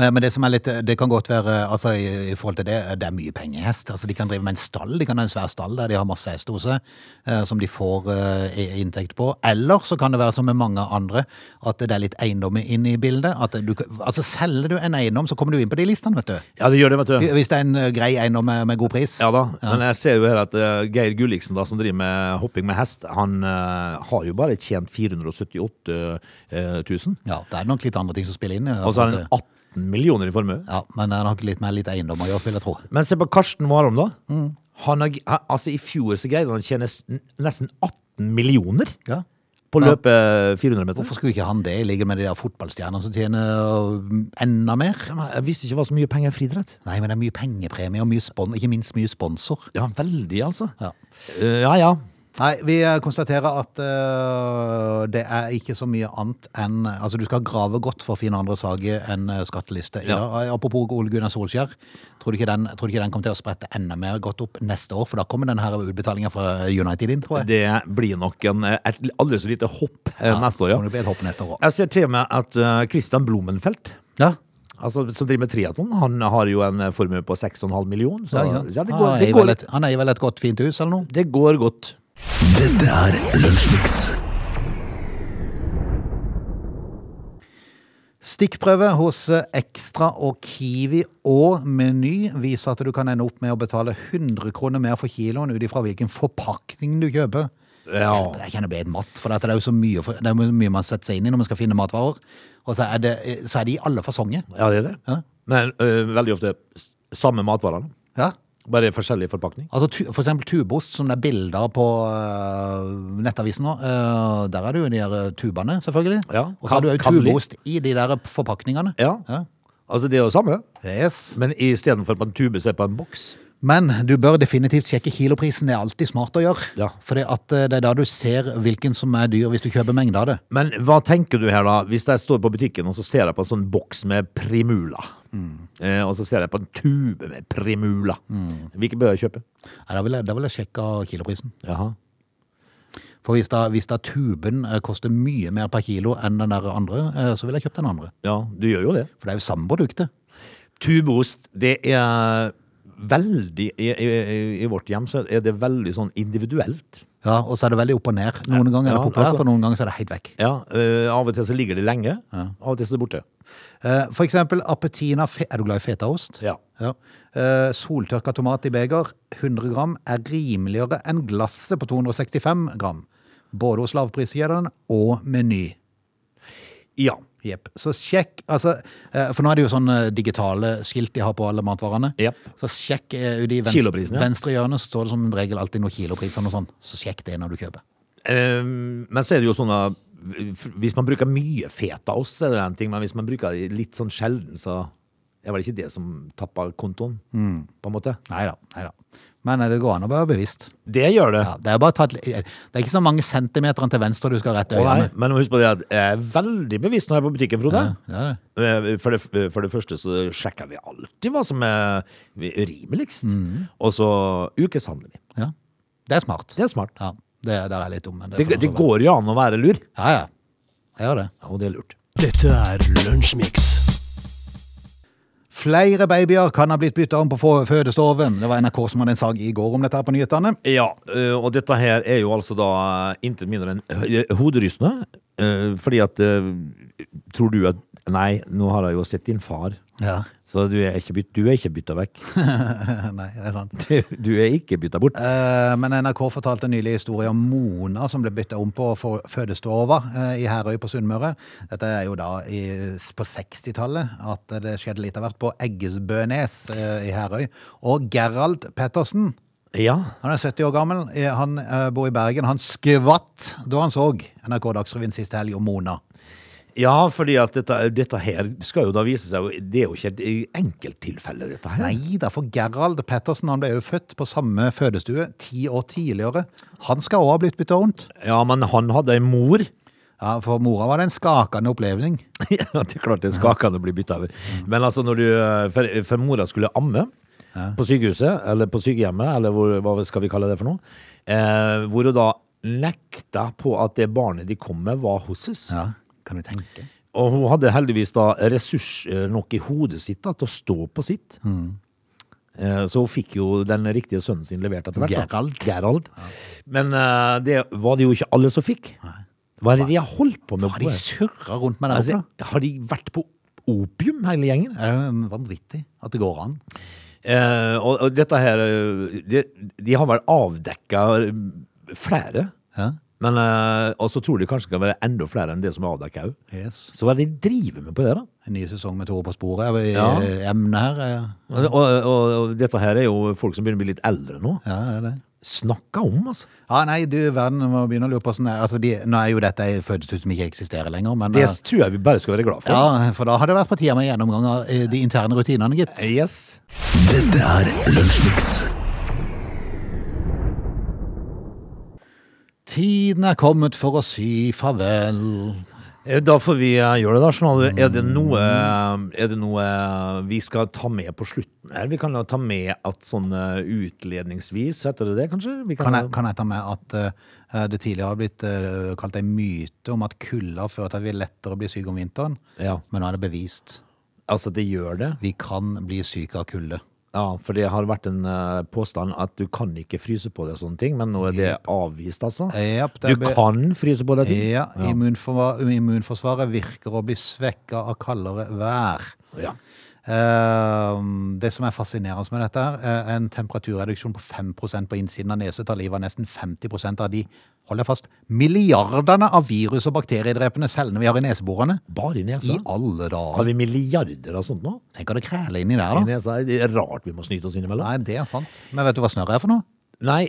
[SPEAKER 1] Men, men det som er litt Det kan godt være altså, i, I forhold til det, det er mye penger i hest. Altså, de kan drive med en stall. De kan ha en svær stall der de har masse hest hos seg, eh, som de får eh, i- inntekt på. Eller så kan det være som med mange andre, at det er litt eiendom inn i bildet. At du, kan- altså, selger du en eiendom, så kommer du inn på de listene, vet du.
[SPEAKER 3] Ja, det gjør det, vet du.
[SPEAKER 1] Hvis det er en eh, grei eiendom med, med god pris.
[SPEAKER 3] Ja da, men jeg ser jo her at eh, Geir Gulliksen da, som driver med hopping med hest, han eh, har jo bare tjent 478 eh, 000.
[SPEAKER 1] Ja, det er nok litt andre ting som spiller inn. eh,
[SPEAKER 3] Og så har
[SPEAKER 1] for at,
[SPEAKER 3] han 18 millioner i formue.
[SPEAKER 1] ja, men han har ikke litt med litt eiendom å gjøre, vil jeg tro.
[SPEAKER 3] Men se på Karsten Warholm, da.
[SPEAKER 1] Mm.
[SPEAKER 3] Han har, han- altså, I fjor så greide han å tjene s- nesten 18 millioner
[SPEAKER 1] Ja.
[SPEAKER 3] på å løpe 400 meter.
[SPEAKER 1] Hvorfor skulle ikke han det, i ligge med de der fotballstjernene som tjener eh, enda mer?
[SPEAKER 3] Ja, men Jeg visste ikke det var så mye penger i friidrett.
[SPEAKER 1] Nei, men det er mye pengepremie og mye spon ikke minst mye sponsor.
[SPEAKER 3] Ja, veldig, altså.
[SPEAKER 1] Ja.
[SPEAKER 3] Eh, ja, ja.
[SPEAKER 1] Nei, vi eh, konstaterer at eh, det er ikke så mye annet enn Altså, du skal grave godt for å finne andre saker enn eh, skatteliste. i
[SPEAKER 3] Ja.
[SPEAKER 1] dag. Eh, Apropos Ole Gunnar Solskjær. Tror du, ikke den, tror du ikke den kommer til å sprette enda mer godt opp neste år? For da kommer den her utbetalinga fra eh, United inn, tror jeg.
[SPEAKER 3] Det blir nok en, eh, et aldri så lite hopp eh, neste
[SPEAKER 1] Kommer
[SPEAKER 3] år, ja.
[SPEAKER 1] det bli et hopp neste år òg?
[SPEAKER 3] Jeg ser til og med at eh, Christian Blumenfeldt
[SPEAKER 1] Ja.
[SPEAKER 3] Altså, som driver med triatlon, han har jo en eh, formue på 6,5 millioner, så
[SPEAKER 1] ja, Ah,
[SPEAKER 3] ja,
[SPEAKER 1] ikke sant?
[SPEAKER 3] det, går,
[SPEAKER 1] han,
[SPEAKER 3] det,
[SPEAKER 1] eier
[SPEAKER 3] går,
[SPEAKER 1] vel et, han eier vel et godt, fint hus, eller noe?
[SPEAKER 3] det går godt.
[SPEAKER 2] Dette er Lunsjmix.
[SPEAKER 1] Stikkprøve hos eh, Ekstra og Kiwi og Meny viser at du kan ende opp med å betale 100 kroner mer for kiloen ut ifra hvilken forpakning du kjøper.
[SPEAKER 3] Ja.
[SPEAKER 1] Jeg kjenner bedre mat, for dette, det er jo så mye, for- det er jo mye man setter seg inn i når man skal finne matvarer. Og så er, det, eh, så er de i alle fasonger.
[SPEAKER 3] Ja, det er det.
[SPEAKER 1] Ja.
[SPEAKER 3] Men ø, veldig ofte s- samme matvarene,
[SPEAKER 1] Ja.
[SPEAKER 3] bare i forskjellig forpakning.
[SPEAKER 1] Altså, tu, for eksempel tubost, som det er bilder på øh, nettavisen nå. øh, der er det jo de der øh, tubene, selvfølgelig.
[SPEAKER 3] Ja.
[SPEAKER 1] Og så har du jo
[SPEAKER 3] Kadli.
[SPEAKER 1] tubost i de der forpakningene.
[SPEAKER 3] Ja.
[SPEAKER 1] Ja.
[SPEAKER 3] Altså, det er jo samme,
[SPEAKER 1] Yes.
[SPEAKER 3] men istedenfor på en tube, så er det på en boks.
[SPEAKER 1] Men du bør definitivt sjekke kiloprisen. Det er alltid smart å gjøre.
[SPEAKER 3] Ja.
[SPEAKER 1] For det er da du ser hvilken som er dyr, hvis du kjøper mengde av det.
[SPEAKER 3] Men hva tenker du her, da? Hvis jeg står på butikken og så ser jeg på en sånn boks med Primula, eh, og så ser jeg på en tube med Primula, hvilken bør jeg kjøpe?
[SPEAKER 1] Nei, da, vil jeg, da vil jeg sjekke kiloprisen.
[SPEAKER 3] Jaha.
[SPEAKER 1] For hvis da, hvis da tuben eh, koster mye mer per kilo enn den der andre, eh, så vil jeg kjøpe den andre.
[SPEAKER 3] Ja, du gjør jo det.
[SPEAKER 1] For det er jo samme produktet.
[SPEAKER 3] Tubeost, det er veldig i, i, i- I vårt hjem så er det veldig sånn individuelt.
[SPEAKER 1] Ja, Og så er det veldig opp og ned. Noen ganger er
[SPEAKER 3] Ja,
[SPEAKER 1] det populært,
[SPEAKER 3] altså- eh,
[SPEAKER 1] og noen ganger så er det helt vekk.
[SPEAKER 3] Ja, ø, Av og til så ligger det lenge, av og til så er det borte.
[SPEAKER 1] Eh, For eksempel appetina fe- Er du glad i fetaost?
[SPEAKER 3] Ja.
[SPEAKER 1] Eh, Soltørka tomat i beger, 100 gram, er rimeligere enn glasset på 265 gram. Både hos lavpriskjedene og Meny.
[SPEAKER 3] Ja.
[SPEAKER 1] Jepp. Så sjekk altså, eh, For nå er det jo sånne digitale skilt de har på alle matvarene.
[SPEAKER 3] Jepp.
[SPEAKER 1] Så sjekk eh, ute i venstre,
[SPEAKER 3] Kiloprisen, ja.
[SPEAKER 1] venstre hjørne så står det som regel alltid noen kilopriser. Noe sånt. Så sjekk det når du kjøper.
[SPEAKER 3] Eh, men så er det jo sånn at hvis man bruker mye fetaost, så er det en ting, men hvis man bruker det litt sånn sjelden, så er vel ikke det som tapper kontoen,
[SPEAKER 1] Mm.
[SPEAKER 3] på en måte.
[SPEAKER 1] Nei da. Nei da. Men eh, det går an å være bevisst.
[SPEAKER 3] Det gjør det.
[SPEAKER 1] Ja, det, er bare å ta et, li- det er ikke så mange centimeterne til venstre du skal rette
[SPEAKER 3] Å, nei,
[SPEAKER 1] øynene.
[SPEAKER 3] men husk på det at jeg er veldig bevisst når jeg er på butikken, Frode.
[SPEAKER 1] Ja, det.
[SPEAKER 3] Eh, For det, for det første så sjekker vi alltid hva som er rimeligst.
[SPEAKER 1] Mm.
[SPEAKER 3] Og så ukeshandler vi.
[SPEAKER 1] Ja. det er smart.
[SPEAKER 3] Det er smart.
[SPEAKER 1] Ja, det, der er jeg litt dum. men
[SPEAKER 3] Det,
[SPEAKER 1] får
[SPEAKER 3] det
[SPEAKER 1] så være.
[SPEAKER 3] går jo an å være lur.
[SPEAKER 1] Ja, ja. Jeg gjør det.
[SPEAKER 3] Og det er lurt.
[SPEAKER 2] Dette er Lunsjmix.
[SPEAKER 1] Flere babyer kan ha blitt bytta om på få- fødestoven. Det var NRK som hadde en sak i går om dette her på nyhetene.
[SPEAKER 3] Ja, eh, og dette her er jo altså da eh, intet mindre enn eh, hoderystende. eh, Fordi at eh, Tror du at Nei, nå har jeg jo sett din far,
[SPEAKER 1] Ja,
[SPEAKER 3] så du er ikke bytt- du er ikke bytta vekk.
[SPEAKER 1] nei, det er sant.
[SPEAKER 3] Du er ikke bytta bort.
[SPEAKER 1] Eh, Men NRK fortalte nylig historie om Mona som ble bytta om på for- fødestova eh, i Herøy på Sunnmøre. Dette er jo da i, på 60-tallet at det skjedde litt av hvert på Eggesbønes eh, i Herøy. Og Gerald Pettersen,
[SPEAKER 3] Ja.
[SPEAKER 1] han er 70 år gammel, eh, han eh, bor i Bergen. Han skvatt da han så NRK Dagsrevyen sist helg om Mona.
[SPEAKER 3] Ja, fordi at dette, dette her skal jo da vise seg jo- Det er jo ikke et enkelttilfelle, dette her.
[SPEAKER 1] Nei da, for Gerald Pettersen han ble jo født på samme fødestue ti år tidligere. Han skal òg ha blitt bytta vondt.
[SPEAKER 3] Ja, men han hadde en mor.
[SPEAKER 1] Ja, for mora var det en skakende opplevning.
[SPEAKER 3] Ja, det er klart det er skakende å bli bytta over. Men altså, når du eh, For, for mora skulle amme på sykehuset, eller på sykehjemmet, eller hvor, hva skal vi kalle det for noe? Eh, hvor hun da nekta på at det barnet de kom med, var hennes.
[SPEAKER 1] Ja, kan du tenke.
[SPEAKER 3] Og hun hadde heldigvis da ressurs eh, nok i hodet sitt da, til å stå på sitt. Eh, Så hun fikk jo den riktige sønnen sin levert etter hvert. da.
[SPEAKER 1] Gerald.
[SPEAKER 3] Gerald. Men eh, det var det jo ikke alle som fikk. Hva er det de har holdt på med?
[SPEAKER 1] Har de surra rundt med det
[SPEAKER 3] altså,
[SPEAKER 1] altså,
[SPEAKER 3] har de vært på opium, hele gjengen?
[SPEAKER 1] Det er jo vanvittig at det går an.
[SPEAKER 3] Eh, og, og dette her eh, De, de har vel avdekka eh, flere.
[SPEAKER 1] Ja.
[SPEAKER 3] Men, eh, og så tror de kanskje det kan være enda flere enn det som er avdekka òg.
[SPEAKER 1] Yes.
[SPEAKER 3] Så hva er det de driver med på det, da?
[SPEAKER 1] En ny sesong med Tore på sporet er i
[SPEAKER 3] Ja.
[SPEAKER 1] eh, emnet her. eh.
[SPEAKER 3] Og, og, og, og dette her er jo folk som begynner å bli litt eldre nå.
[SPEAKER 1] Ja, det er det.
[SPEAKER 3] Snakka om, altså.
[SPEAKER 1] Ja, nei, du, verden må begynne å lure på sånn altså, de, Nå er jo dette ei fødestue som ikke eksisterer lenger, men
[SPEAKER 3] Det
[SPEAKER 1] eh,
[SPEAKER 3] tror jeg vi bare skal være glad for.
[SPEAKER 1] Ja, for da har det vært på tide med gjennomgang av eh, de interne rutinene, gitt.
[SPEAKER 3] Yes.
[SPEAKER 2] Dette er Lunsjmix.
[SPEAKER 1] Tiden er kommet for å si farvel.
[SPEAKER 3] Eh, Da får vi eh, gjøre det, da. Sånn at, er, det noe, eh, er det noe vi skal ta med på slutten her? Vi kan jo ta med at sånn eh, utledningsvis, heter det det, kanskje? Vi
[SPEAKER 1] Kan jeg, kan jeg ta med at eh, det tidligere har blitt eh, kalt en myte om at kulda fører til at vi lettere blir syke om vinteren,
[SPEAKER 3] Ja,
[SPEAKER 1] men nå er det bevist.
[SPEAKER 3] altså det gjør det.
[SPEAKER 1] Vi kan bli syke av kulde.
[SPEAKER 3] Ja, for det har vært en eh, påstand at du kan ikke fryse på det og sånne ting, men nå er det avvist, altså.
[SPEAKER 1] Japp, det
[SPEAKER 3] Du
[SPEAKER 1] er be-
[SPEAKER 3] kan fryse på det ting.
[SPEAKER 1] Ja, immunforva- immunforsvaret virker å bli svekka av kaldere vær.
[SPEAKER 3] Ja.
[SPEAKER 1] Eh, Det som er fascinerende med dette, her, eh, en temperaturreduksjon på 5 på innsiden av nese tar livet av nesten 50 av de hold deg fast, milliardene av virus- og bakteriedrepende cellene vi har i neseborene.
[SPEAKER 3] Bare i nesa.
[SPEAKER 1] I alle
[SPEAKER 3] Har
[SPEAKER 1] dager.
[SPEAKER 3] vi milliarder av sånt nå?
[SPEAKER 1] Tenk at det kræler inni
[SPEAKER 3] I
[SPEAKER 1] der, da.
[SPEAKER 3] nesa? Det er rart vi må snyte oss innimellom.
[SPEAKER 1] Nei, det er sant. Men vet du hva snørr er for noe?
[SPEAKER 3] Nei.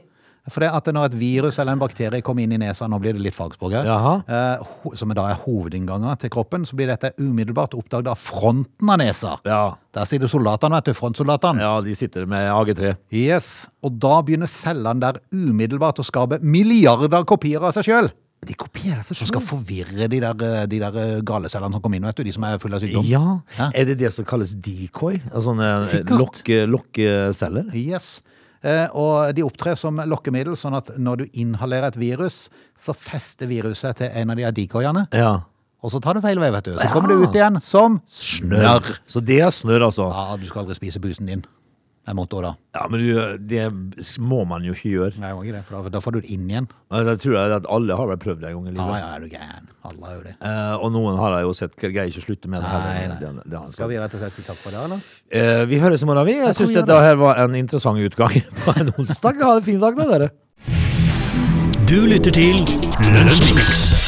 [SPEAKER 1] For det at når et virus eller en bakterie kommer inn i nesa, nå blir det litt fagspråk her,
[SPEAKER 3] Jaha.
[SPEAKER 1] eh, ho- som da er hovedinnganger til kroppen, så blir dette umiddelbart oppdaget av fronten av nesa.
[SPEAKER 3] Ja.
[SPEAKER 1] Der sitter soldatene, vet du, frontsoldatene.
[SPEAKER 3] ja, de sitter med AG3.
[SPEAKER 1] Yes, og da begynner cellene der umiddelbart å skape milliarder kopier av seg selv.
[SPEAKER 3] De kopierer seg
[SPEAKER 1] Som skal forvirre de der, eh, de der eh, gale cellene som kommer inn, vet du, de som er fulle av sykdom.
[SPEAKER 3] Ja.
[SPEAKER 1] Hæ?
[SPEAKER 3] Er det det som kalles decoy? Altså Sånne
[SPEAKER 1] Sikkert.
[SPEAKER 3] lokke- lokkeceller?
[SPEAKER 1] Yes. Eh, Og de opptrer som lokkemiddel, sånn at når du inhalerer et virus, så fester viruset til en av de adikoiene.
[SPEAKER 3] ja.
[SPEAKER 1] Og så tar det feil vei, vet du. Så kommer det ut igjen som snørr.
[SPEAKER 3] Så det er snørr, altså.
[SPEAKER 1] Ja, du skal aldri spise busen din. er mottoet da.
[SPEAKER 3] Ja, men du, det må man jo ikke gjøre.
[SPEAKER 1] Nei, jeg må ikke det, for da, da får du det inn igjen.
[SPEAKER 3] Altså, jeg tror at alle har vel prøvd det en gang i
[SPEAKER 1] Ja,
[SPEAKER 3] livet.
[SPEAKER 1] ja, er du gæren. Alle har jo det.
[SPEAKER 3] Eh, og noen har jeg jo sett greier ikke å slutte med det.
[SPEAKER 1] Nei,
[SPEAKER 3] heller.
[SPEAKER 1] nei.
[SPEAKER 3] Det- det- det har han
[SPEAKER 1] Skal
[SPEAKER 3] sagt.
[SPEAKER 1] vi rett og slett si takk for det, eller?
[SPEAKER 3] Eh, vi høres i morgen, vi. Jeg
[SPEAKER 1] tror
[SPEAKER 3] syns
[SPEAKER 1] vi gjør
[SPEAKER 3] dette her var en interessant utgang på en onsdag. Ha en fin dag, da, dere.
[SPEAKER 2] Du lytter til Lunsjmix.